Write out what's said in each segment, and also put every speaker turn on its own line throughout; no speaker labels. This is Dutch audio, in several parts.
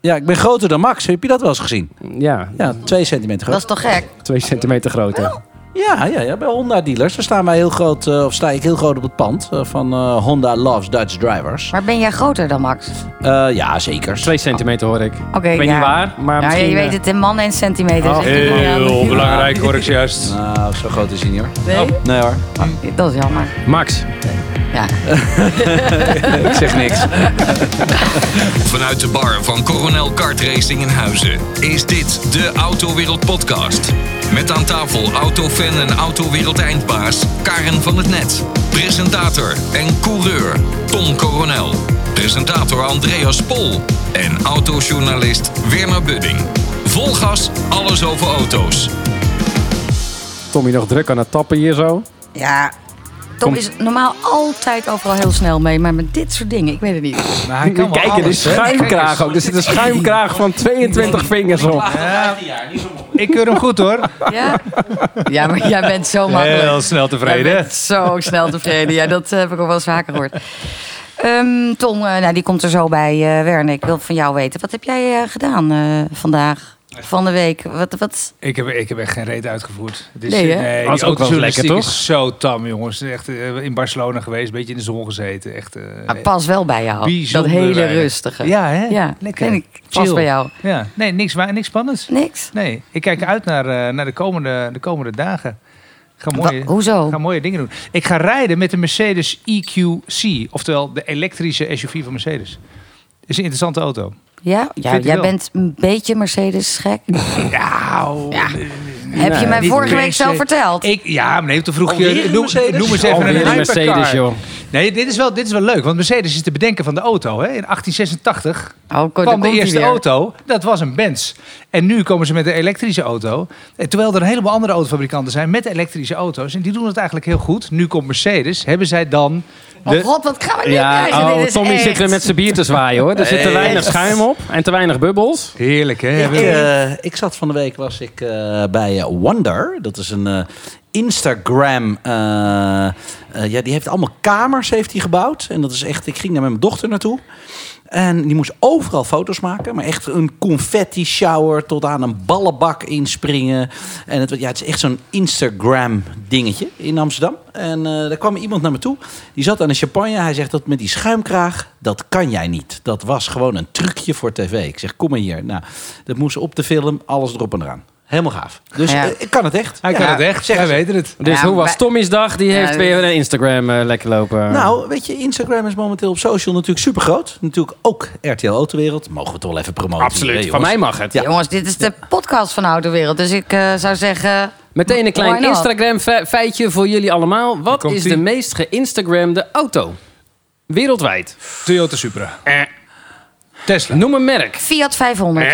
Ja, ik ben groter dan Max. Heb je dat wel eens gezien?
Ja,
Ja, twee centimeter
Dat
groot.
is toch gek?
twee centimeter groter.
Ja, ja, ja, bij Honda dealers. Daar staan wij heel groot, eh, of sta ik heel groot op het pand eh, van eh, Honda Loves Dutch Drivers.
Maar ben jij groter dan Max?
Eh, ja, zeker.
Twee centimeter hoor ik. Oké.
Oké,
ik weet
ja.
niet waar, maar
Ja,
misschien...
je weet
eh,
het in mannen en centimeters.
Oh,
Heel belangrijk hoor ik zojuist.
Nou, zo groot is hij niet hoor.
Nee?
Nee hoor.
Oh.
Dat is jammer.
Max,
Ja.
Ik zeg niks.
Vanuit de bar van Coronel Kart Racing in Huizen is dit de Autowereld Podcast. Met aan tafel autofan en autowereld eindbaas Karen van het Net. Presentator en coureur Tom Coronel. Presentator Andreas Pol. En autojournalist Werner Budding. Vol gas, alles over auto's.
Tommy nog druk aan het tappen hier zo.
ja. Tom
Kom.
is normaal altijd overal heel snel mee, maar met dit soort dingen, ik weet het niet.
Maar hij kan wel
Kijk, er is
dus
alles, hè?
schuimkraag ook. Er zit een schuimkraag van 22 vingers op.
Ik keur hem goed hoor.
Ja, ja maar jij bent zo makkelijk.
Heel snel
Jij
tevreden.
bent zo snel tevreden. Ja, dat heb ik al wel eens vaker gehoord. Ehm, Tom, eh, nou, die komt er zo bij. eh Werner, ik wil van jou weten. Wat heb jij eh, gedaan eh, vandaag? Van de week? Wat, wat?
Ik heb, ik heb echt geen reet uitgevoerd. Het is,
Nee, hè?
nee,
Dat is
die
ook wel eens lekker,
autojournalistiek is zo tam, jongens. Echt eh, in Barcelona geweest, een beetje in de zon gezeten. Echt, eh,
Ah, pas wel bij jou.
bijzonder
dat hele
weinig.
rustige.
Ja, hè?
ja
lekker.
vind ik. Pas
Chill.
bij jou.
Ja. Nee, niks, wa- niks spannends.
Niks.
Nee, ik kijk uit naar, eh, naar de, komende, de komende dagen. Ik Ga mooie,
Wa- hoezo?
ik ga mooie dingen doen. Ik ga rijden met de Mercedes EQC, oftewel de elektrische SUV van Mercedes. Is een interessante auto.
Ja? ja
Vind ik
jij
wel.
bent een beetje Mercedes gek.
Ja, oh,
Ja. heb je mij
niet
vorige week
Mercedes.
zelf verteld?
Ik, ja, maar nee, toen vroeg
Alweer
je.
een
Noem,
Mercedes?
noem eens even
Alweer
een
een
hypercar.
Mercedes, joh.
Nee, dit is, wel, dit is wel leuk, want Mercedes is de bedenker van de auto. Hè? In 1886
Oh, kom, daar
kwam de
komt-ie
eerste
weer.
auto, dat was een Benz. En nu komen ze met een elektrische auto. En Terwijl er een heleboel andere autofabrikanten zijn met elektrische auto's. En die doen het eigenlijk heel goed. Nu komt Mercedes, hebben zij dan...
Oh
De,
god, wat gaan we nu
Ja,
krijgen?
oh,
Dit is
Tommy
echt-
zit er met zijn bier te zwaaien hoor. Er zit te weinig schuim op en te weinig bubbels.
heerlijk, hè?
Ik,
Hebben-
eh, ik zat van de week was ik, eh, bij eh, Wonder. Dat is een eh, Instagram. eh, eh, ja, die heeft allemaal kamers heeft die gebouwd. En dat is echt. Ik ging daar met mijn dochter naartoe. En die moest overal foto's maken. Maar echt een confetti shower tot aan een ballenbak inspringen. En het, ja, het is echt zo'n Instagram dingetje in Amsterdam. En eh, daar kwam iemand naar me toe. Die zat aan een champagne. Hij zegt dat met die schuimkraag, dat kan jij niet. Dat was gewoon een trucje voor tv. Ik zeg, kom maar hier. Nou, dat moest op de film, alles erop en eraan. Helemaal gaaf. Dus
Ja.
eh, ik kan het echt.
Hij
Ja.
kan het echt,
Zeg
wij
eens.
weten het.
Dus
Ja,
hoe was
wij-
Tommy's dag? Die heeft
Ja,
weer een Instagram eh, lekker lopen.
Nou, weet je, Instagram is momenteel op social natuurlijk super groot. Natuurlijk ook RTL Autowereld. Mogen we het wel even promoten. hier, hè,
absoluut. Van
jongens?
mij mag het.
Jongens, dit is de podcast van de Autowereld. Dus ik eh, zou zeggen...
Meteen een
Why
klein
not?
Instagram fe- feitje voor jullie allemaal. Wat
komt
is
ie.
de meest geïnstagramde auto? Wereldwijd.
Toyota Supra.
Eh.
Tesla.
Noem een merk.
Fiat 500.
Eh.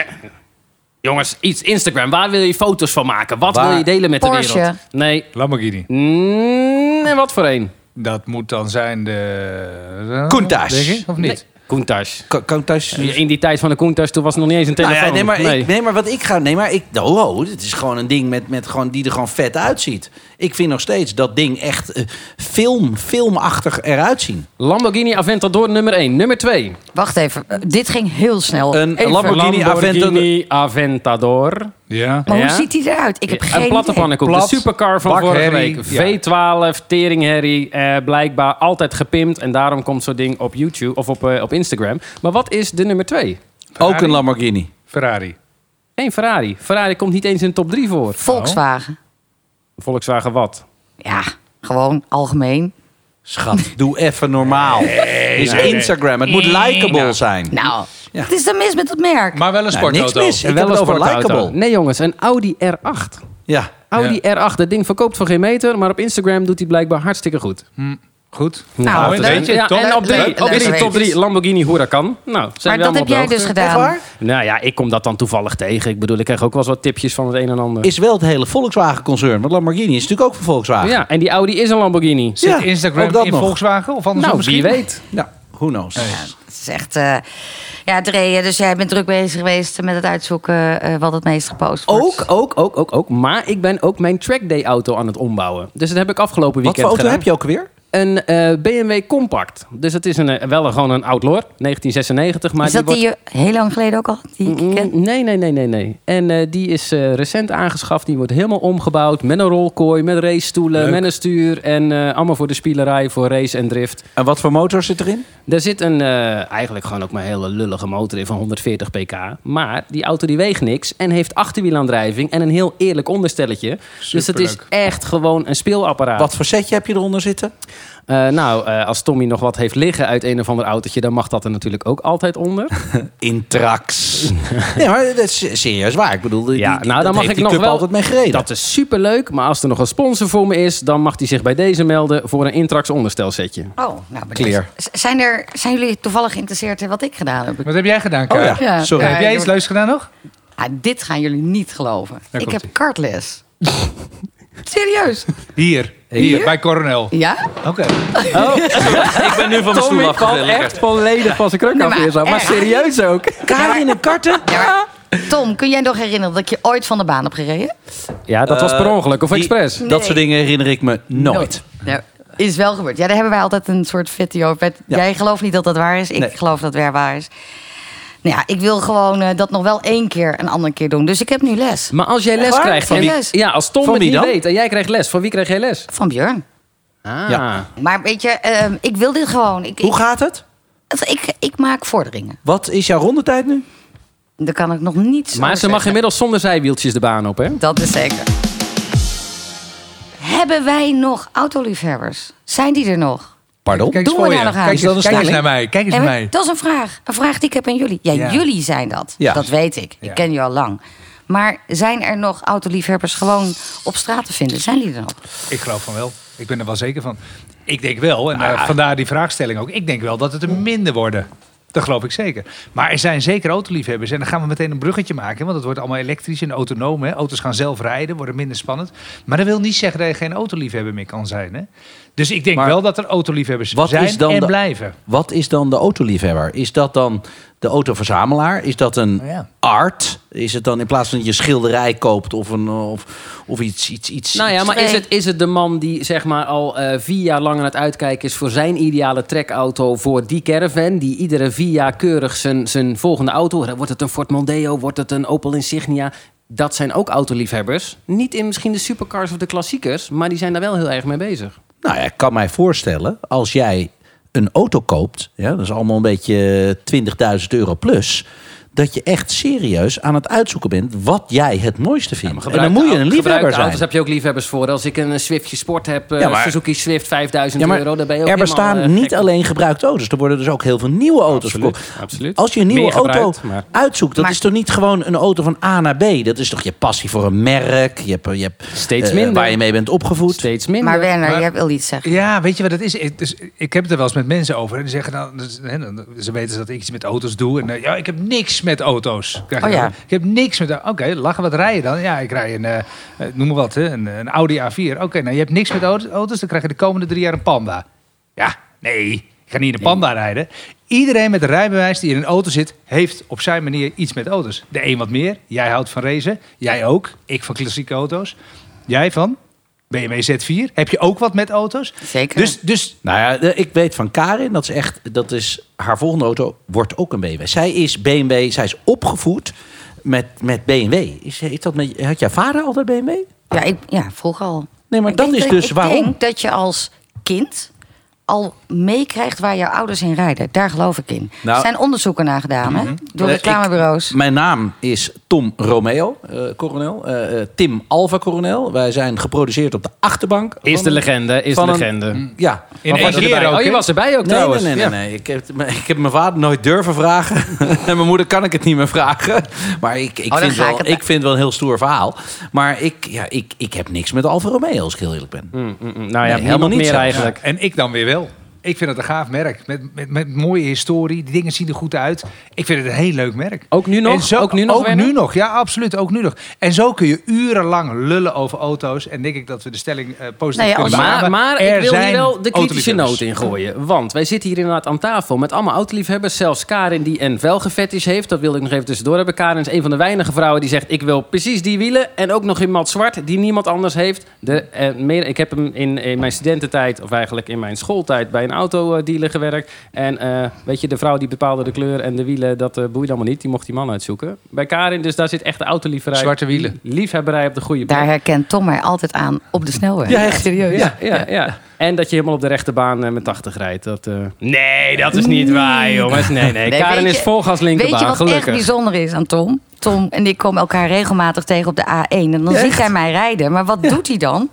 Jongens, iets Instagram. Waar wil je foto's van maken? Wat
Waar?
wil je delen met
Porsche.
de wereld? Nee.
Lamborghini.
Mm, en wat voor een?
Dat moet dan zijn de...
Countach.
Denk ik, of niet?
Nee. Countach.
Kan, kan ik thuis...
In die tijd van de Countach, toen was het nog niet eens een
Nou
telefoon.
ja, nee, maar
Nee.
Ik, nee, maar wat ik ga... Nee, maar ik... Oh, oh, dit is gewoon een ding met, met gewoon, die er gewoon vet uitziet. Ik vind nog steeds dat ding echt eh, film, filmachtig eruit zien.
Lamborghini Aventador nummer 1. Nummer 2.
Wacht even, eh, dit ging heel snel.
Een
Even.
Lamborghini-
Lamborghini Aventador.
Ja.
Maar hoe
Ja.
ziet hij eruit? Ik heb geen
een platte
idee.
pannenkoek.
Plat,
de supercar van vorige
bakherrie,
week. V12, teringherrie. eh, blijkbaar altijd gepimpt. En daarom komt zo'n ding op YouTube of op, eh, op Instagram. Maar wat is de nummer 2?
Ook een Lamborghini.
Ferrari.
Eén Ferrari. Ferrari komt niet eens in de top 3 voor.
Volkswagen.
Oh. Volkswagen wat?
Ja, gewoon algemeen.
Schat, doe even normaal. Het is Instagram. Het moet likable zijn.
Nou,
Ja.
het is dan mis met dat merk.
Maar wel een
Nou, niks
sportauto.
mis. Ik
Wel
heb het
een
over
sportauto.
likable.
Nee jongens, een Audi R8.
Ja.
Audi R8, dat ding verkoopt voor geen meter, maar op Instagram doet hij blijkbaar hartstikke goed.
Goed.
Nou,
weet
dat-
je,
ja,
top.
en op
Leuk,
drie, op
leuk,
drie,
leuk.
top 3 Lamborghini Huracan. Nou, zijn
Maar
we
dat
allemaal
heb
op de
jij
hoogte.
dus gedaan.
Echt waar?
Nou ja, ik kom dat dan toevallig tegen. Ik bedoel, ik krijg ook wel eens wat tipjes van het een en ander.
Is wel het hele Volkswagen-concern. Want Lamborghini is natuurlijk ook van Volkswagen.
Ja, en die Audi is een Lamborghini.
Zit
Ja, ook
Instagram
dat
in
nog.
Volkswagen of andersom
Nou,
misschien?
wie weet.
Ja, who knows.
Het is echt... eh, ja, Dre, eh, dus jij bent druk bezig geweest met het uitzoeken eh, wat het meest gepost wordt.
Ook, ook, ook, ook, ook. Maar ik ben ook mijn trackday auto aan het ombouwen. Dus dat heb ik afgelopen
Wat
weekend
voor auto
gedaan.
heb je ook weer?
een eh, BMW Compact. Dus het is een, eh, wel een, gewoon een Outlaw, 1996. Maar
is dat
die
die
wordt...
je heel lang geleden ook al? Die ik ken?
Nee, nee, nee, nee, nee. En eh, die is eh, recent aangeschaft. Die wordt helemaal omgebouwd met een rolkooi, met racestoelen,
Leuk.
met een stuur. En eh, allemaal voor de spielerij, voor race en drift.
En wat voor motor zit erin?
Daar zit een, eh, eigenlijk gewoon ook maar een hele lullige motor in van 140 pk. Maar die auto die weegt niks en heeft achterwielaandrijving en een heel eerlijk onderstelletje. Dus het is echt gewoon een speelapparaat.
Wat voor setje heb je eronder zitten?
Eh, nou, eh, als Tommy nog wat heeft liggen uit een of ander autootje, dan mag dat er natuurlijk ook altijd onder.
Intrax. nee, maar dat is serieus waar. Ik bedoel, die,
ja,
die- die-
nou
dat
dan mag
heeft
ik
die
nog
club
wel.
altijd mee gereden.
Dat is superleuk, maar als er nog een sponsor voor me is, dan mag hij zich bij deze melden voor een Intrax onderstelsetje.
Oh, nou, maar
Clear.
dus- Zijn, er, zijn jullie toevallig geïnteresseerd in wat ik gedaan heb?
Wat heb jij gedaan,
Oh
Karin?
ja,
Ja.
sorry.
Heb jij iets
joh.
leuks gedaan nog?
Ah, dit gaan jullie niet geloven. ik heb kartles. Serieus?
Hier. Hier, bij Coronel.
Ja?
Oké.
Ik ben nu van mijn stoel afgevallen. lekker.
volledig van zijn kruk
Nee, af maar weer zo. Maar echt.
serieus ook.
Karin en karten?
Ja,
Ah.
maar- Tom, kun jij nog herinneren dat ik je ooit van de baan heb gereden?
Ja, dat was per ongeluk of
Eh, Die-
expres.
Dat soort dingen herinner ik me nooit.
Nou, is wel gebeurd. Ja, daar hebben wij altijd een soort fitty over. Met,
Ja.
Jij gelooft niet dat dat waar is. Ik
Nee.
geloof dat het weer waar is. Nou ja, ik wil gewoon eh, dat nog wel één keer een andere keer doen. Dus ik heb nu les.
Maar als jij les
waar?
krijgt,
Van
en-
wie?
ja, als Tom
Van
het
wie
niet
dan?
weet en jij krijgt les, van wie krijg jij les?
Van Björn.
Ah.
Ja.
Maar weet je, ehm, ik wil dit gewoon. Ik,
Hoe
ik,
gaat het?
ik, ik maak vorderingen.
Wat is jouw rondetijd nu?
Daar kan ik nog niets
Maar
over
ze mag
zeggen.
inmiddels zonder zijwieltjes de baan op, hè?
Dat is zeker. Hebben wij nog autoliefhebbers? Zijn die er nog?
Pardon?
Kijk eens
Doen we
voor
daar
je.
nog aan?
Kijk
Is dat
eens,
een
kijk eens naar
stelling?
mij. Kijk eens
Ja,
naar
maar
mij.
Dat is een vraag. Een vraag die ik heb aan jullie. Ja,
Ja.
jullie zijn dat.
Ja.
Dat weet ik. Ik
Ja.
ken je al lang. Maar zijn er nog autoliefhebbers gewoon op straat te vinden? Zijn die er nog?
Ik geloof van wel. Ik ben er wel zeker van. Ik denk wel, en
Ah.
eh, vandaar die vraagstelling ook. Ik denk wel dat het er minder worden. Dat geloof ik zeker. Maar er zijn zeker autoliefhebbers. En dan gaan we meteen een bruggetje maken. Want het wordt allemaal elektrisch en autonoom. Hè. Auto's gaan zelf rijden, worden minder spannend. Maar dat wil niet zeggen dat je geen autoliefhebber meer kan zijn. Hè. Dus ik denk
Maar
wel dat er autoliefhebbers
wat
zijn
is dan
en
de-
blijven.
Wat is dan de autoliefhebber? Is dat dan de autoverzamelaar? Is dat een
Oh ja.
art? Is het dan in plaats van dat je schilderij koopt of, een, eh, of, of iets, iets, iets...
Nou ja, maar
Twee.
is het, is het de man die zeg maar al eh, vier jaar lang aan het uitkijken is voor zijn ideale trekauto voor die caravan, die iedere vier jaar keurig zijn, zijn volgende auto, wordt het een Ford Mondeo, wordt het een Opel Insignia, dat zijn ook autoliefhebbers. Niet in misschien de supercars of de klassiekers, maar die zijn daar wel heel erg mee bezig.
Nou ja, ik kan mij voorstellen, als jij een auto koopt, ja, dat is allemaal een beetje 20.000 euro plus, dat je echt serieus aan het uitzoeken bent wat jij het mooiste vindt. en dan moet je een liefhebber zijn.
Auto's heb je ook liefhebbers voor. Als ik een Swiftje Sport heb, eh,
Ja, maar-
Suzuki Swift 5000
Ja, maar
euro, dan ben je ook
er
helemaal,
bestaan
eh,
niet
gek.
alleen gebruikte auto's. Er worden dus ook heel veel nieuwe auto's
Absoluut,
verkocht.
absoluut.
Als je een nieuwe
Meer
auto
gebruikt, maar-
uitzoekt, dat
Maar-
is toch niet gewoon een auto van A naar B? Dat is toch je passie voor een merk? Je hebt, je hebt,
Steeds
eh,
minder.
Waar je mee bent opgevoed.
Steeds minder.
Maar Werner,
Maar-
jij wil iets zeggen.
Ja, weet je wat het is? Ik- Dus, ik heb het er wel eens met mensen over. En die zeggen, nou, dus, hè, dan- ze weten dat ik iets met auto's doe. En eh, ja, ik heb niks met auto's. Krijg ik
Oh ja.
dan. Ik heb niks met Oké, lachen, wat rij je dan? Ja, ik rij een, eh, eh, noem maar wat, hè, een, een Audi A4. Oké, nou, je hebt niks met auto- auto's. Dan krijg je de komende drie jaar een Panda. Ja, nee, ik ga niet in een Panda rijden. Iedereen met een rijbewijs die in een auto zit, heeft op zijn manier iets met auto's. De een wat meer. Jij houdt van racen. Jij ook. Ik van klassieke auto's. Jij van? BMW Z4. Heb je ook wat met auto's?
Zeker.
Dus, dus
Nou ja, de- ik weet van Karin, dat is echt, dat is haar volgende auto, wordt ook een BMW. Zij is BMW, zij is opgevoed met, met BMW. Is, heeft dat met, had jouw vader altijd BMW?
Ja, ik, ja vroeg al.
Nee, maar
Ik
dat
denk
is
dat-
dus
ik
waarom.
denk dat je als kind al meekrijgt waar jouw ouders in rijden. Daar geloof ik in.
Nou-
er zijn onderzoeken naar gedaan, hè? Door
Eh,
reclamebureaus.
ik- mijn naam is Tom Romeo, eh, coronel. Eh, eh, Tim Alva, coronel. Wij zijn geproduceerd op de achterbank.
Is
van
de
een-
legende, is de
van een-
legende.
Ja.
in
Was
één
je
keer
erbij?
ook.
oh, je
hè?
was erbij ook
Nee, nee,
trouwens.
nee, nee,
Ja.
nee. Ik, heb, ik heb mijn vader nooit durven vragen. en mijn moeder kan ik het niet meer vragen. Maar ik, ik,
Oh, dan
vind,
ga
wel,
ik het- e-
ik vind wel een heel stoer verhaal. Maar ik, ja, ik, ik heb niks met Alfa Romeo, als ik heel eerlijk ben.
Hm.
Mm, mm, mm. Nou ja,
Nee, helemaal
helemaal
niet
niet meer
zo.
eigenlijk.
En ik dan weer wel. Ik vind het een gaaf merk. Met, met, met mooie historie. Die dingen zien er goed uit. Ik vind het een heel leuk merk.
Ook nu nog?
En zo-
ook nu nog, Werner?
nu nog, ja, absoluut. Ook nu nog. En zo kun je urenlang lullen over auto's. En denk ik dat we de stelling eh, positief
Nee,
kunnen
Nou als-
beamen.
Maar, maar
Er
ik wil hier
zijn
wel de kritische
autoliefhebbers.
noot in gooien. Want wij zitten hier inderdaad aan tafel met allemaal autoliefhebbers. Zelfs Karin die een velgefetish heeft. Dat wilde ik nog even tussendoor hebben. Karin is een van de weinige vrouwen die zegt... ik wil precies die wielen. En ook nog in mat zwart die niemand anders heeft. De, eh, meer, ik heb hem in, in mijn studententijd... of eigenlijk in mijn schooltijd bij een autodealer gewerkt. En eh, weet je, de vrouw die bepaalde de kleur en de wielen... dat eh boeit allemaal niet. Die mocht die man uitzoeken. Bij Karin, dus daar zit echt de autoliefhebberij...
Zwarte wielen.
Liefhebberij op de goede plek.
Daar herkent Tom mij altijd aan op de snelweg.
Ja, echt.
serieus.
Ja, ja, ja. En dat je helemaal op de rechte baan eh, met 80 rijdt. Dat, eh, Nee, dat is niet waar, jongens. Nee, nee.
Mm. Nee,
Karen
weet
is
je-
vol gas linkerbaan,
Weet je wat
gelukkig.
echt bijzonder is aan Tom? Tom en ik komen elkaar regelmatig tegen op de A1. En dan ziet hij mij rijden. Maar wat doet hij dan?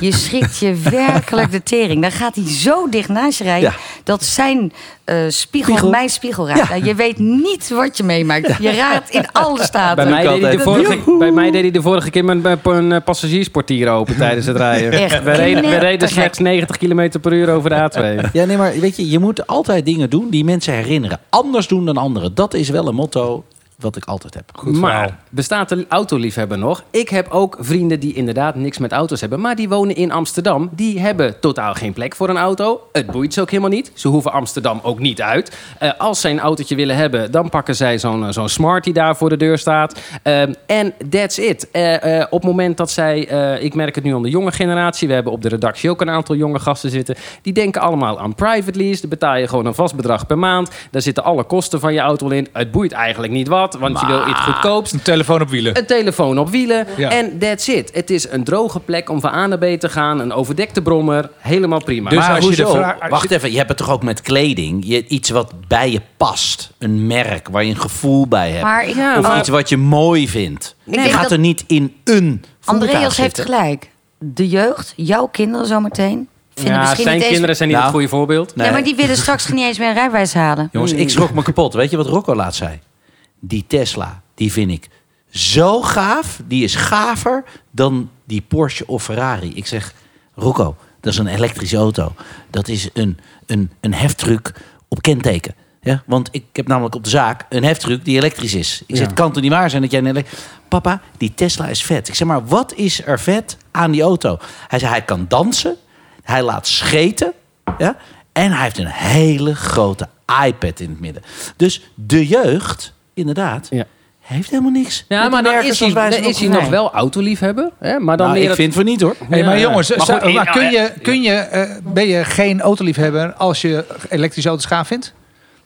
Je schrikt je werkelijk de tering. Dan gaat hij zo dicht naast je rijden...
Ja.
dat zijn eh, spiegel,
Spiegel.
mijn spiegel raakt. Nou, Je weet niet wat je meemaakt. Je raadt in alle staten.
bij, mij deed hij de
altijd.
vorige, bij mij deed hij de vorige keer mijn, mijn- mijn, eh, passagiersportier open tijdens het rijden.
Echt
We reden, we reden
knettergek.
slechts 90 km per uur over de A2.
Ja, nee, maar weet je, je moet altijd dingen doen die mensen herinneren. Anders doen dan anderen. Dat is wel een motto wat ik altijd heb.
maar bestaat de autoliefhebber nog? Ik heb ook vrienden die inderdaad niks met auto's hebben. Maar die wonen in Amsterdam. Die hebben totaal geen plek voor een auto. Het boeit ze ook helemaal niet. Ze hoeven Amsterdam ook niet uit. Eh, als zij een autootje willen hebben, dan pakken zij zo'n eh, zo'n smart die daar voor de deur staat. Ehm, En that's it. Eh, eh, op het moment dat zij... eh, ik merk het nu aan de jonge generatie. We hebben op de redactie ook een aantal jonge gasten zitten. Die denken allemaal aan private lease. Daar betaal je gewoon een vast bedrag per maand. Daar zitten alle kosten van je auto al in. Het boeit eigenlijk niet wat, want je wil
Ah,
iets goedkoops.
Een telefoon op wielen.
Een telefoon op wielen.
Ja.
En that's it. Het is een droge plek om van A naar B te gaan. Een overdekte brommer. Helemaal prima.
Dus-
maar
als je de
hoezo?
vraag- als je-
Wacht even, je hebt het toch ook met kleding? Je, iets wat bij je past. Een merk waar je een gevoel bij hebt.
Maar ik- Oh,
Ja,
of
maar-
iets wat je mooi vindt.
denk
je gaat
dat-
er niet in een voertuig
Andreas heeft
zitten.
gelijk. De jeugd, jouw kinderen zometeen... vinden
ja,
misschien
zijn
niet eens-
kinderen zijn niet
Nou.
het goede voorbeeld.
Nee.
Ja, maar die willen straks niet eens meer een rijbewijs halen.
Jongens, ik schrok me kapot. Weet je wat Rocco laat zei? Die Tesla, die vind ik zo gaaf. Die is gaver dan die Porsche of Ferrari. Ik zeg, Rocco, dat is een elektrische auto. Dat is een, een, een heftruc op kenteken. Ja, want ik heb namelijk op de zaak een heftruck die elektrisch is. Ik zeg, het kan toch niet waar zijn dat jij een elektrisch... Papa, die Tesla is vet. Ik zeg maar, wat is er vet aan die auto? Hij zei, hij kan dansen. Hij laat scheten. Ja? En hij heeft een hele grote iPad in het midden. Dus de jeugd, inderdaad,
Ja.
heeft helemaal niks.
Ja,
met
maar
de
dan
merken
is hij,
zoals wij ze
dan is hij
kennen.
nog wel autoliefhebber. Hè? Maar dan
Nou,
meer
ik
het-
vind van niet hoor.
Hey, maar
Ja.
jongens,
Maar
zou-
goed, in-
maar kun je, kun je, eh, ben je geen autoliefhebber als je elektrische auto's gaaf vindt?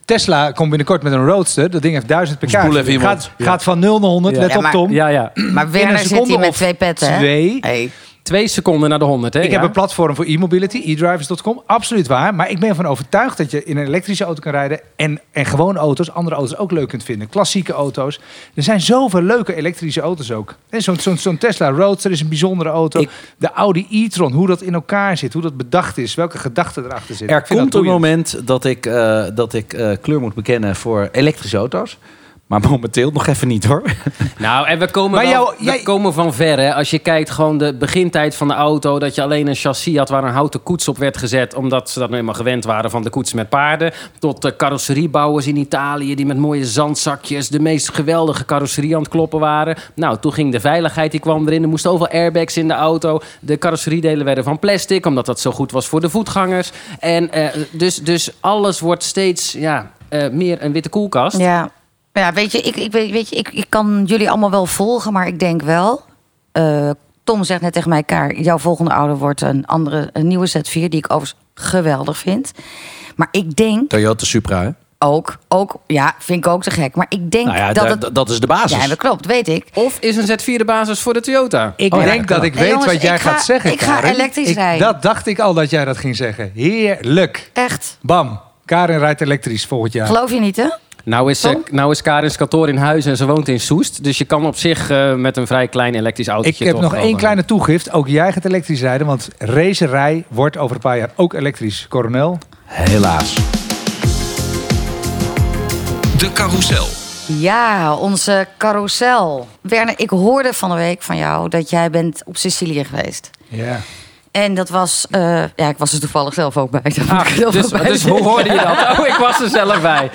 Tesla komt binnenkort met een Roadster. Dat ding heeft 1000 pk.
Spoel even iemand.
gaat, gaat van 0 naar 100.
Ja.
Let
Ja,
op,
maar-
Tom.
Ja, ja.
Maar
In een
Werner zit
seconde
hier met
of
twee petten, hè?
Twee.
Hey.
Twee seconden naar de 100. Hè?
Ik heb
ja.
een platform voor e-mobility, e-drivers.com. Absoluut waar. Maar ik ben ervan overtuigd dat je in een elektrische auto kan rijden. En, en gewone auto's, andere auto's ook leuk kunt vinden. Klassieke auto's. Er zijn zoveel leuke elektrische auto's ook. Hè, Zo'n zo'n zo'n Tesla Roadster is een bijzondere auto. De Audi e-tron, hoe dat in elkaar zit. Hoe dat bedacht is. Welke gedachten erachter zitten.
Er
Ik vind
komt
dat
een
boeiend.
moment dat ik, eh, dat ik eh, kleur moet bekennen voor elektrische auto's. Maar momenteel nog even niet hoor.
Nou, en we komen,
Maar
wel-
jou-
we
jij-
komen van ver. Hè? Als je kijkt gewoon de begintijd van de auto... dat je alleen een chassis had waar een houten koets op werd gezet... omdat ze dat nou eenmaal gewend waren van de koets met paarden... tot de carrosseriebouwers in Italië... die met mooie zandzakjes de meest geweldige carrosserie aan het kloppen waren. Nou, toen ging de veiligheid, die kwam erin. Er moesten overal airbags in de auto. De carrosseriedelen werden van plastic... omdat dat zo goed was voor de voetgangers. En eh, dus, dus alles wordt steeds ja, eh, meer een witte koelkast.
Ja. ja, weet je, ik, ik, weet weet je ik, ik kan jullie allemaal wel volgen, maar ik denk wel. eh, Tom zegt net tegen mij, Kaar, jouw volgende ouder wordt een, andere, een nieuwe Z4, die ik overigens geweldig vind. Maar ik denk
Toyota Supra, hè?
ook, ook ja, vind ik ook te gek. Maar ik denk
Nou ja,
dat
da-
het.
da- dat is de basis.
ja, dat klopt, weet ik.
Of is een Z4 de basis voor de Toyota?
Oh, Ik denk dat ik
Hey,
weet
jongens,
wat jij
ik ga-
gaat zeggen.
ik ga
Karin.
elektrisch
Ik-
rijden.
Dat dacht ik al dat jij dat ging zeggen. Heerlijk.
Echt.
Bam. Karin rijdt elektrisch volgend jaar.
Geloof je niet, hè?
Nou is, eh,
Tom?
nou is Karin's kantoor in huis en ze woont in Soest. Dus je kan op zich eh, met een vrij klein elektrisch
Ik
autootje
heb
toch
nog
wel,
één
eh,
kleine toegift. Ook jij gaat elektrisch rijden, want racerij wordt over een paar jaar ook elektrisch. Coronel.
Helaas.
De carousel.
Ja, onze carousel. Werner, ik hoorde van de week van jou dat jij bent op Sicilië geweest.
Ja.
En dat was, eh, ja, ik was er toevallig zelf ook bij. Dat moet ik er
Ah,
wel
dus,
bij
dus
zeggen.
hoe hoorde je dat? Oh, ik was er zelf bij.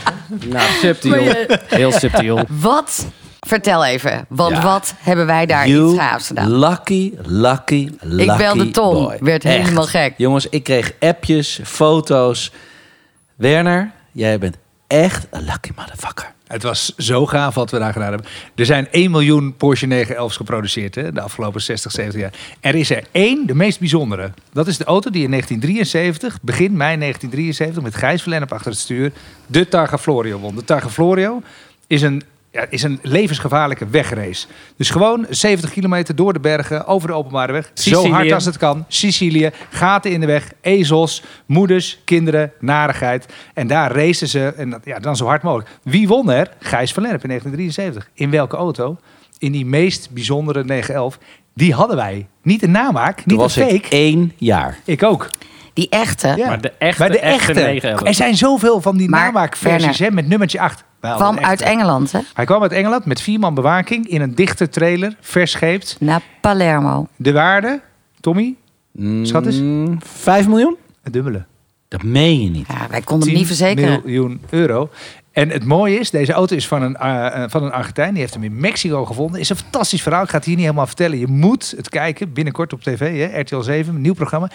Nou, subtiel. Heel subtiel.
Wat, vertel even, want
Ja.
wat hebben wij daar
You
iets gaafs gedaan?
Lucky, lucky, lucky
Ik belde Tom.
boy.
Werd
Echt.
helemaal gek.
Jongens, ik kreeg appjes, foto's. Werner, jij bent echt een lucky motherfucker.
Het was zo gaaf wat we daar gedaan hebben. Er zijn 1 miljoen Porsche 911's geproduceerd hè, de afgelopen 60, 70 jaar. Er is er één, de meest bijzondere. Dat is de auto die in 1973, begin mei 1973, met Gijs Verlennep achter het stuur, de Targa Florio won. De Targa Florio is een, ja, is een levensgevaarlijke wegrace. Dus gewoon 70 kilometer door de bergen, over de openbare weg. Zo
Sicilië.
hard als het kan. Sicilië, gaten in de weg, ezels, moeders, kinderen, narigheid. En daar racen ze, en dat- ja, dan zo hard mogelijk. Wie won er? Gijs van Lennep in 1973. In welke auto? In die meest bijzondere 911. Die hadden wij. Niet een namaak,
Toen
niet een
was
fake.
ik één jaar.
Ik ook.
Die echte.
Ja.
Maar de echte,
Bij de
echte
echte.
911.
Er zijn zoveel van die
Maar,
namaakversies
Werner,
hè, met nummertje 8. Wij hadden
kwam
een
uit
echte.
Engeland, hè?
Hij kwam uit Engeland met vier man bewaking in een dichte trailer, verscheept.
Naar Palermo.
De waarde, Tommy, Schat eens.
Mm, Vijf miljoen?
het dubbele.
Dat meen je niet.
Ja, wij konden hem
10
niet verzekeren.
miljoen euro. En het mooie is, deze auto is van een, eh, eh, van een Argentijn. Die heeft hem in Mexico gevonden. Is een fantastisch verhaal. Ik ga het hier niet helemaal vertellen. Je moet het kijken. Binnenkort op tv, hè? RTL 7, een nieuw programma.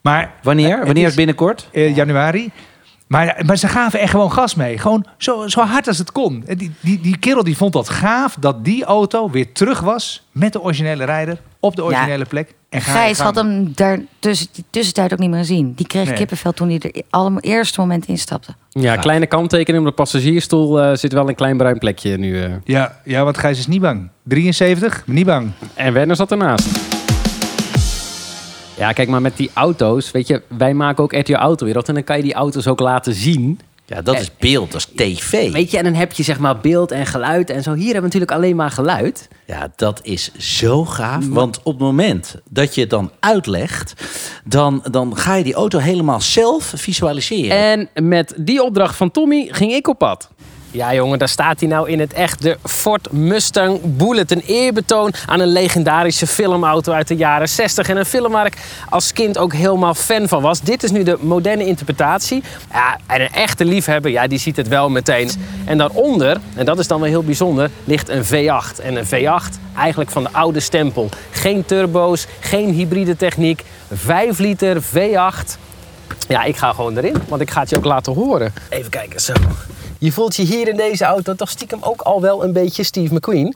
Maar
Wanneer? Wanneer is binnenkort?
eh, januari. Maar, maar ze gaven echt gewoon gas mee. Gewoon zo, zo hard als het kon. En Die, die, die kerel die vond dat gaaf dat die auto weer terug was met de originele rijder op de originele plek. En ga je
Gijs
gang.
had hem daar tussen, die tussentijd ook niet meer gezien. Die kreeg
Nee.
kippenvel toen hij er allemaal eerste moment instapte.
Ja, kleine kanttekening. Op de passagiersstoel eh, zit wel een klein bruin plekje nu. eh.
Ja, ja, want Gijs is niet bang. 73, maar niet bang.
En Werner zat ernaast. Ja, kijk maar met die auto's. Weet je, wij maken ook RTL Autowereld. En dan kan je die auto's ook laten zien.
Ja, dat is beeld, dat is tv.
Weet je, en dan heb je zeg maar beeld en geluid en zo. Hier hebben we natuurlijk alleen maar geluid.
Ja, dat is zo gaaf. Want op het moment dat je het dan uitlegt, dan, dan ga je die auto helemaal zelf visualiseren.
En met die opdracht van Tommy ging ik op pad.
Ja jongen, daar staat hij nou in het echt. De Ford Mustang Bullet. Een eerbetoon aan een legendarische filmauto uit de jaren 60. En een film waar ik als kind ook helemaal fan van was. Dit is nu de moderne interpretatie. Ja, en een echte liefhebber, ja, die ziet het wel meteen. En daaronder, en dat is dan wel heel bijzonder, ligt een V8. En een V8 eigenlijk van de oude stempel. Geen turbo's, geen hybride techniek. 5 liter V8. Ja, ik ga gewoon erin, want ik ga het je ook laten horen. Even kijken, zo. Je voelt je hier in deze auto toch stiekem ook al wel een beetje Steve McQueen.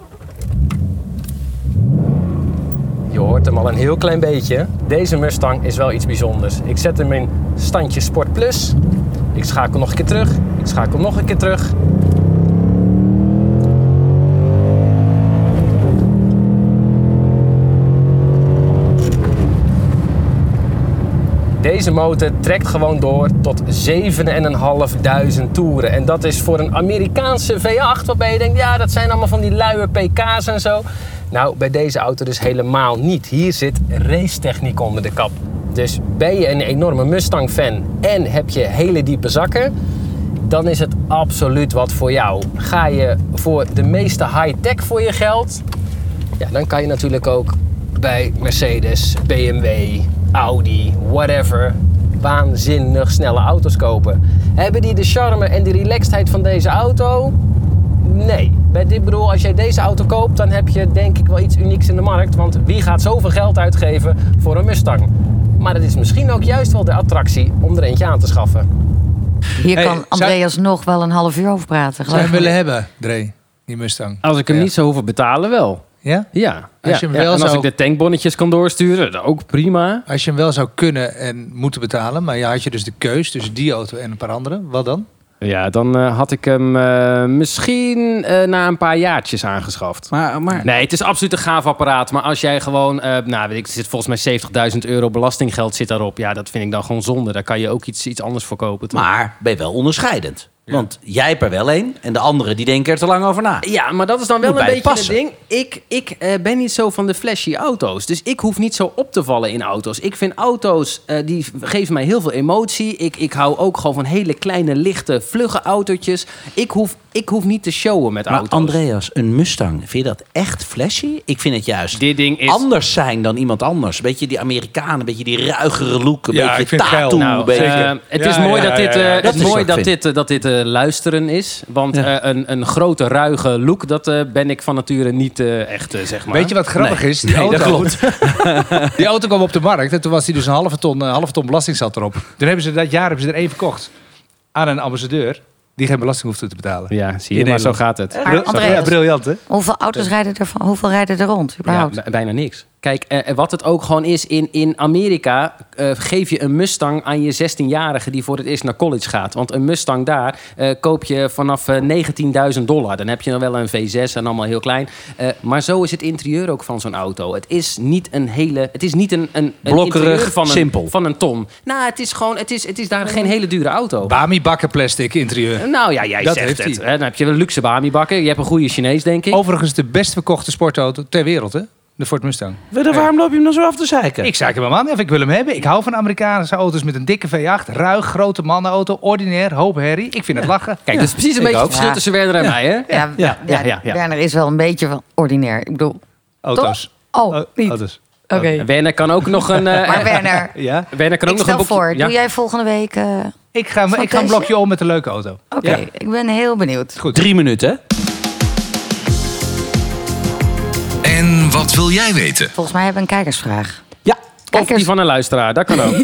Je hoort hem al een heel klein beetje. Deze Mustang is wel iets bijzonders. Ik zet hem in standje Sport Plus. Ik schakel nog een keer terug. Ik schakel nog een keer terug. Deze motor trekt gewoon door tot 7.500 toeren. En dat is voor een Amerikaanse V8, waarbij je denkt, ja, dat zijn allemaal van die luie pk's en zo. Nou, bij deze auto dus helemaal niet. Hier zit racetechniek onder de kap. Dus ben je een enorme Mustang-fan en heb je hele diepe zakken, dan is het absoluut wat voor jou. Ga je voor de meeste high-tech voor je geld, ja, dan kan je natuurlijk ook bij Mercedes, BMW, Audi, whatever, waanzinnig snelle auto's kopen. Hebben die de charme en de relaxedheid van deze auto? Nee. Bij dit bedoel, als jij deze auto koopt, dan heb je denk ik wel iets unieks in de markt. Want wie gaat zoveel geld uitgeven voor een Mustang? Maar het is misschien ook juist wel de attractie om er eentje aan te schaffen.
Hier
Hey,
kan Andreas nog wel een half uur over praten.
Zou je
geloof
hem
me.
willen hebben, Dre? Die Mustang.
Als ik hem
Ja.
niet zou hoeven betalen, wel.
Ja?
Ja.
Als
ja,
je hem
ja.
wel
en als
zou-
ik de tankbonnetjes kan doorsturen, dat ook prima.
Als je hem wel zou kunnen en moeten betalen, maar ja, had je dus de keus tussen die auto en een paar andere, wat dan?
Ja, dan eh, had ik hem eh, misschien eh, na een paar jaartjes aangeschaft.
Maar, maar
Nee, het is absoluut een gaaf apparaat. Maar als jij gewoon, eh, nou weet ik, er zit volgens mij 70.000 euro belastinggeld zit daarop. Ja, dat vind ik dan gewoon zonde. Daar kan je ook iets, iets anders voor kopen. toch?
Maar ben je wel onderscheidend. Want jij hebt er wel één en de anderen die denken er te lang over na.
Ja, maar dat is dan wel
Moet
een
bij
beetje het
passen.
ding. Ik, ik eh, ben niet zo van de flashy auto's. Dus ik hoef niet zo op te vallen in auto's. Ik vind auto's, eh, die geven mij heel veel emotie. Ik, ik hou ook gewoon van hele kleine, lichte, vlugge autootjes. Ik hoef Ik hoef niet te showen met
Maar
auto's.
Andreas, een Mustang, vind je dat echt flashy? Ik vind het juist
Dit ding is-
anders zijn dan iemand anders. Weet je, die Amerikanen, een beetje die ruigere look, een
Ja, ik
beetje
vind het geil.
tattoo.
Nou,
een beetje.
eh,
Eh, het
Ja,
is mooi
ja,
dat
ja,
dit,
ja,
eh,
ja.
het
Dat
is
is
mooi
wat
dat
ik
dit, eh, dat dit eh, luisteren is. Want
Ja.
eh, een, een grote, ruige look, dat eh, ben ik van nature niet eh, echt, eh, zeg maar.
Weet je wat grappig is? Die auto, die auto kwam op de markt en toen was die dus een halve ton, een halve ton belasting zat erop. Toen hebben ze dat jaar hebben ze er één verkocht aan een ambassadeur die geen belasting hoefde te betalen.
Ja, zie je,
In
maar zo
Nederland.
gaat het.
Maar Andreas,
ja, briljant hè?
hoeveel auto's rijden er, van, hoeveel rijden er rond überhaupt?
Ja, b- bijna niks. Kijk, eh, eh, wat het ook gewoon is, in, in Amerika eh, geef je een Mustang aan je 16-jarige die voor het eerst naar college gaat. Want een Mustang daar eh, koop je vanaf eh, 19.000 dollar. Dan heb je dan wel een V6 en allemaal heel klein. Eh, maar zo is het interieur ook van zo'n auto. Het is niet een hele. Het is niet een. een, een
Blokkerig,
interieur van een,
simpel.
Van een ton. Nou, het is gewoon. Het is, het is daar geen hele dure auto.
Bami bakkenplastic interieur.
nou ja, jij
Dat
zegt
heeft
het.
hij.
hè. Dan heb je wel luxe Bami bakken. Je hebt een goede Chinees, denk ik.
Overigens de best verkochte sportauto ter wereld hè? De Ford Mustang.
eh,
Waarom loop je hem dan zo af te zeiken?
Ik zei hem aan, of ik wil hem hebben. Ik hou van Amerikaanse auto's met een dikke V8, ruig, grote mannenauto, ordinair, hoop herrie. Ik vind het lachen.
Kijk, dat is precies een beetje het verschil
Ja.
tussen Werner en mij, hè?
Ja,
ja,
ja, ja, ja.
Werner is wel een beetje van ordinair. Ik bedoel,
Auto's.
oh,
O-
niet. Oké.
Auto's.
Werner kan ook nog een. eh,
Maar Werner,
Ja.
Werner Oh, kan ook
ik
nog een
stel
boekje.
voor,
ja.
doe jij volgende week... eh,
Ik
Zo'n
ga, ik ga een
testje?
blokje om met een leuke auto.
Oké, ik ben heel benieuwd.
Goed.
Drie minuten, hè?
En wat wil jij weten?
Volgens mij hebben we een kijkersvraag.
Ja.
Of die
Kijkers,
van een luisteraar, dat kan ook.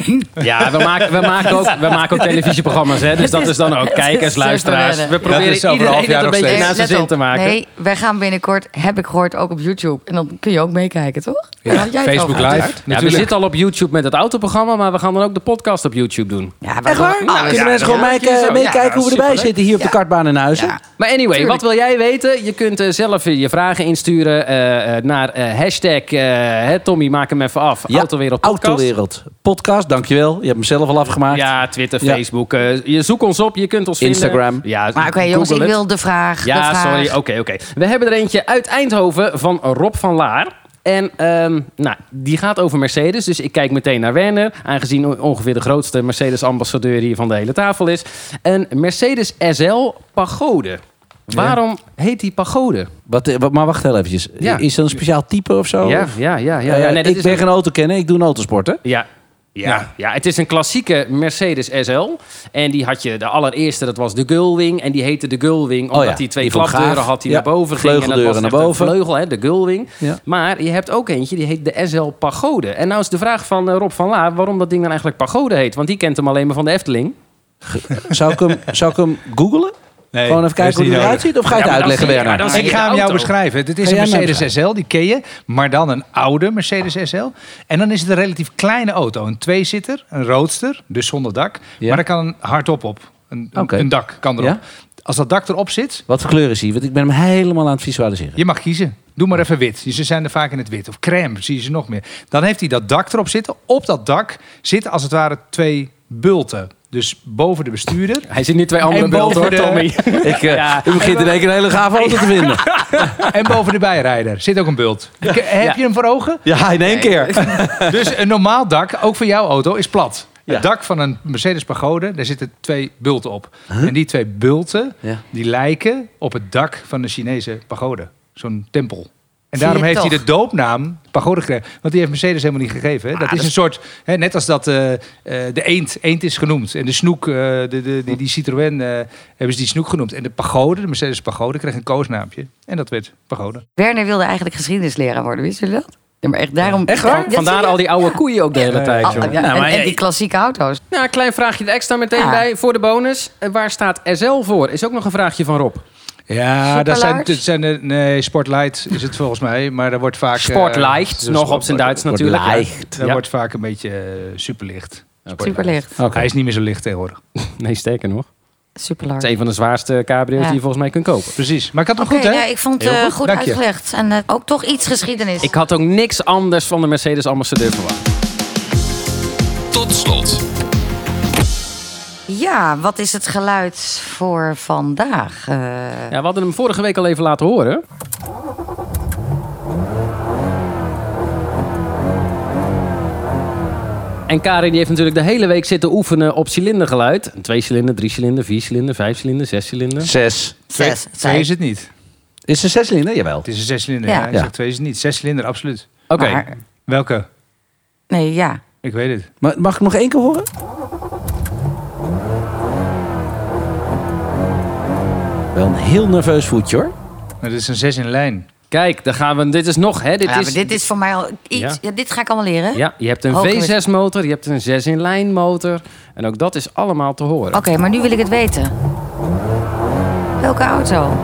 Ja, we maken, we maken, ook, we maken ook televisieprogramma's, hè? Dus dat is dan ook kijkers, luisteraars. We proberen
is over een half
iedereen
jaar
het een
nog
beetje naar zijn
Eh, let
steeds.
zin
op.
te maken.
Nee, wij gaan binnenkort, heb ik gehoord, ook op YouTube. En dan kun je ook meekijken, toch? Daar had jij het
Facebook
over.
Live.
Ja, we zitten al op YouTube met het autoprogramma, maar we gaan dan ook de podcast op YouTube doen.
Ja, wij
Echt waar?
doen
Nou,
alles.
kunnen mensen gewoon
dat
meeke-
is zo.
meekijken
Ja,
hoe we erbij
superleuk.
zitten hier op de kartbaan in Huizen?
Ja.
Maar anyway, wat wil jij weten? Je kunt eh, zelf eh, je vragen insturen eh, eh, naar eh, hashtag eh, hè, Tommy, maak hem even af.
Ja,
Autowereld Podcast.
Autowereld Podcast, dankjewel. Je hebt hem zelf al afgemaakt.
Ja, Twitter,
Ja.
Facebook. eh, je zoekt ons op, je kunt ons
Instagram.
vinden. Ja,
Maar oké, jongens, ik
Google het.
wil de vraag. de
Ja,
vraag.
sorry. Oké, oké. We hebben er eentje uit Eindhoven van Rob van Laar. En ehm, nou, die gaat over Mercedes. Dus ik kijk meteen naar Werner. Aangezien o- ongeveer de grootste Mercedes-ambassadeur hier van de hele tafel is. Een Mercedes SL Pagode. Waarom heet die Pagode?
Wat, eh, wat- maar wacht heel eventjes.
Ja.
Is dat een speciaal type of zo?
Ja,
Of-
ja, ja. ja,
Oh. Eh,
ja. Nee, dat
ik
is
ben
een-
geen auto kennen, ik doe een autosport, hè?
Ja. Ja.
Ja.
ja, het is een klassieke Mercedes SL. En die had je, de allereerste, dat was de Gullwing. En die heette de Gullwing omdat
Oh ja,
die twee
die vond ik
klapdeuren
gaaf.
had die
Ja,
naar boven ging. En dat was
vleugeldeuren
echt
naar
een
boven.
vleugel, hè, de Gullwing.
Ja.
Maar je hebt ook eentje, die heet de SL Pagode. En nou is de vraag van eh, Rob van Laar waarom dat ding dan eigenlijk Pagode heet. Want die kent hem alleen maar van de Efteling.
Zou ik hem, zou ik hem googlen?
Nee,
Gewoon even
dat is
kijken hoe
niet
hij eruit
nodig.
ziet? Of ga je
Ja,
het
maar dan
uitleggen,
zie je-
Werner?
ja, dan zie
Ik
je
ga
de
hem jou
auto.
beschrijven. Dit is
Ga
een
jij hem
Mercedes SL, die ken je. Maar dan een oude Mercedes SL. En dan is het een relatief kleine auto. Een tweezitter, een roadster, dus zonder dak.
Ja.
Maar daar kan een hardop op. Een, een,
Oké.
een dak kan erop.
Ja.
Als dat dak erop zit,
Wat voor kleur is hij? Want ik ben hem helemaal aan het visualiseren.
je mag kiezen. Doe maar even wit. Ze zijn er vaak in het wit. Of crème, zie je ze nog meer. Dan heeft hij dat dak erop zitten. Op dat dak zitten als het ware twee bulten. Dus boven de bestuurder.
Hij zit nu twee andere
En
beelden hoor,
boven de-
Tommy.
Ik, eh,
Ja.
U begint in één keer een hele gave auto te vinden.
En boven de bijrijder zit ook een bult. K- Heb je hem voor ogen?
Ja, in één keer.
Dus een normaal dak, ook voor jouw auto, is plat.
Ja.
Het dak van een Mercedes Pagode, daar zitten twee bulten op. En die twee bulten,
Ja.
die lijken op het dak van een Chinese pagode. Zo'n tempel. En
Zie
daarom
je
heeft hij
toch?
de doopnaam pagode gekregen. Want die heeft Mercedes helemaal niet gegeven. Hè? dat is een soort, hè, net als dat eh, eh, de eend, eend is genoemd. En de snoek, eh, de, de, die, die Citroën, eh, hebben ze die snoek genoemd. En de pagode, de Mercedes pagode, kreeg een koosnaampje. En dat werd pagode.
Werner wilde eigenlijk geschiedenisleraar worden, wisten jullie dat? Ja, maar echt daarom...
Echt waar?
Ja, zie je?
Vandaar al die oude koeien ook de hele tijd.
Oh,
jongen.
ja,
Nou,
en,
maar
en
ja,
die klassieke auto's.
Nou, een klein vraagje er extra meteen
Ja.
bij voor de bonus. Eh, Waar staat SL voor? Is ook nog een vraagje van Rob.
Ja, dat zijn,
Superlight?
dat zijn de, nee, Sportlight is het volgens mij, maar daar wordt vaak... eh,
Sportlight,
de
nog
sport-
op zijn Duits
wordt
natuurlijk. ja.
licht.
Daar
Ja.
wordt vaak een beetje eh, superlicht.
Superlicht.
Oh.
Oké.
Hij is niet meer zo licht tegenwoordig.
Nee, sterker nog. Het
Superlarge.
is een van de zwaarste cabrio's
Ja.
die je volgens mij kunt kopen.
Precies. Maar ik had
Oh,
hem
Oké,
goed, hè?
ja, ik vond het
Heel
eh,
goed,
goed
dank je.
uitgelegd. En eh, ook toch iets geschiedenis.
Ik had ook niks anders van de Mercedes-ambassadeur verwacht.
Tot slot,
Ja, wat is het geluid voor vandaag? Eh,
Ja, we hadden hem vorige week al even laten horen. En Karin die heeft natuurlijk de hele week zitten oefenen op cilindergeluid. Een twee cilinder, drie cilinder, vier cilinder, vijf cilinder, zes cilinder.
Zes.
Twee,
Zes.
twee
Twee.
is het niet.
Is een zescilinder? Jawel.
Het is een zescilinder.
Ja.
Ja. ik
Ja.
zeg twee is het niet. Zescilinder, absoluut.
Oké.
Maar-
Welke?
Nee, ja.
Ik weet het.
Maar mag ik nog één keer horen? Wel een heel nerveus voetje hoor.
Het is een zes in lijn.
Kijk, dan gaan we. Dit is nog, hè? Dit
Ja, maar
is.
dit is Oh, voor mij al iets.
Ja.
Ja. dit ga ik allemaal leren.
Ja, je hebt een
Hoog
V6-motor, je hebt een 6-in-lijn motor. En ook dat is allemaal te horen.
Oké, maar nu wil ik het weten. Welke auto?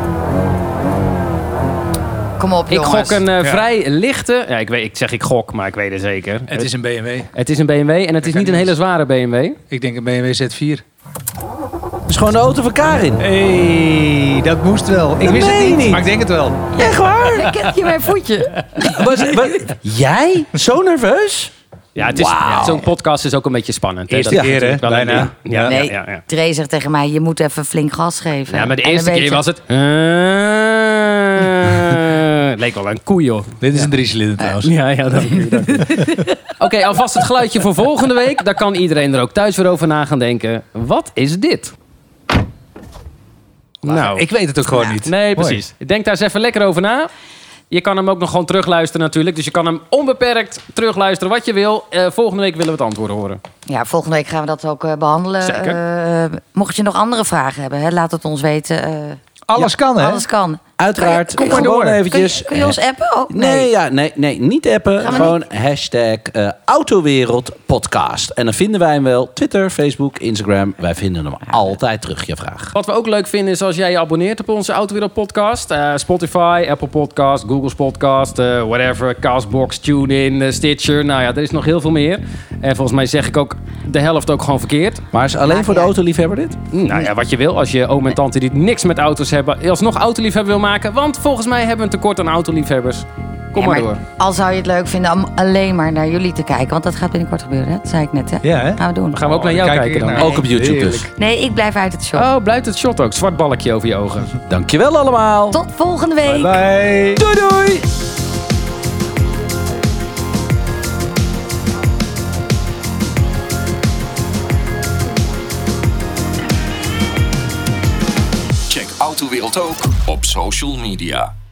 Kom op,
ik
jongens.
gok een eh,
Ja.
vrij lichte. Ja, ik, weet, ik zeg ik gok, maar ik weet het zeker.
Het is een BMW.
Het is een BMW en Eh. het is
kan
niet een
niet.
hele zware BMW.
Ik denk een BMW Z4.
Het is gewoon de auto van Karin.
hey, dat moest wel. Ik
Dat
wist
meen
het
je
niet,
niet.
maar ik denk het wel.
Echt waar?
Ik heb hier mijn voetje.
Wat- wat- jij? Zo nerveus?
Ja, het is, ja, zo'n podcast is ook een beetje spannend. hè.
Eerste
Dat is
keer, hè,
natuurlijk wel een-
bijna.
Ja, ja,
Nee,
ja, ja, ja.
Dre zegt tegen mij, je moet even flink gas geven.
Ja, maar de
En dan
eerste
weet
keer
je-
was het... Het leek wel een koe, joh.
Dit is een driecilinder trouwens.
Ja, ja, dank u. dank u. Oké, alvast het geluidje voor volgende week. Daar kan iedereen er ook thuis weer over na gaan denken. Wat is dit? Nou,
Ik weet het ook gewoon niet.
nee,
Mooi.
precies. Denk daar eens even lekker over na. Je kan hem ook nog gewoon terugluisteren natuurlijk. Dus je kan hem onbeperkt terugluisteren wat je wil. Eh, volgende week willen we het antwoord horen.
Ja, volgende week gaan we dat ook eh, behandelen.
Zeker.
Eh, mocht je nog andere vragen hebben, hè, laat het ons weten. eh,
Alles kan, hè?
alles kan.
Uiteraard.
Kom maar
gewoon
door.
Kun
eventjes.
je, kun je ons
Eh,
appen Oh, ook?
Nee, ja, nee, nee, niet appen.
Gaan we
Gewoon hashtag eh, Autowereld podcast. En dan vinden wij hem wel. Twitter, Facebook, Instagram. Wij vinden hem altijd terug, je vraag.
Wat we ook leuk vinden is als jij je abonneert op onze Autowereld podcast. Eh, Spotify, Apple Podcast, Google's Podcast, eh, whatever. Castbox, TuneIn, eh, Stitcher. Nou ja, er is nog heel veel meer. En volgens mij zeg ik ook de helft ook gewoon verkeerd.
Maar is alleen
Maakt
voor de
niet uit.
autoliefhebber dit?
Nou ja, wat je wil. Als je oom en tante die niks met auto's hebben, alsnog autoliefhebber wil maken. Want volgens mij hebben we een tekort aan autoliefhebbers. Kom
Ja,
maar door.
Al zou je het leuk vinden om alleen maar naar jullie te kijken. Want dat gaat binnenkort gebeuren, hè? dat zei ik net. Hè?
Ja, hè?
Gaan we doen.
Dan gaan we ook
Oh,
naar jou
dan kijk
kijken
ik
dan.
ernaar.
Ook op YouTube dus.
Heerlijk.
Nee, ik blijf uit het shop.
Oh, blijft het shot ook. Zwart balkje over je ogen.
Dankjewel allemaal.
Tot volgende week.
Bye.
Doei doei.
Check Autowereld ook op social media.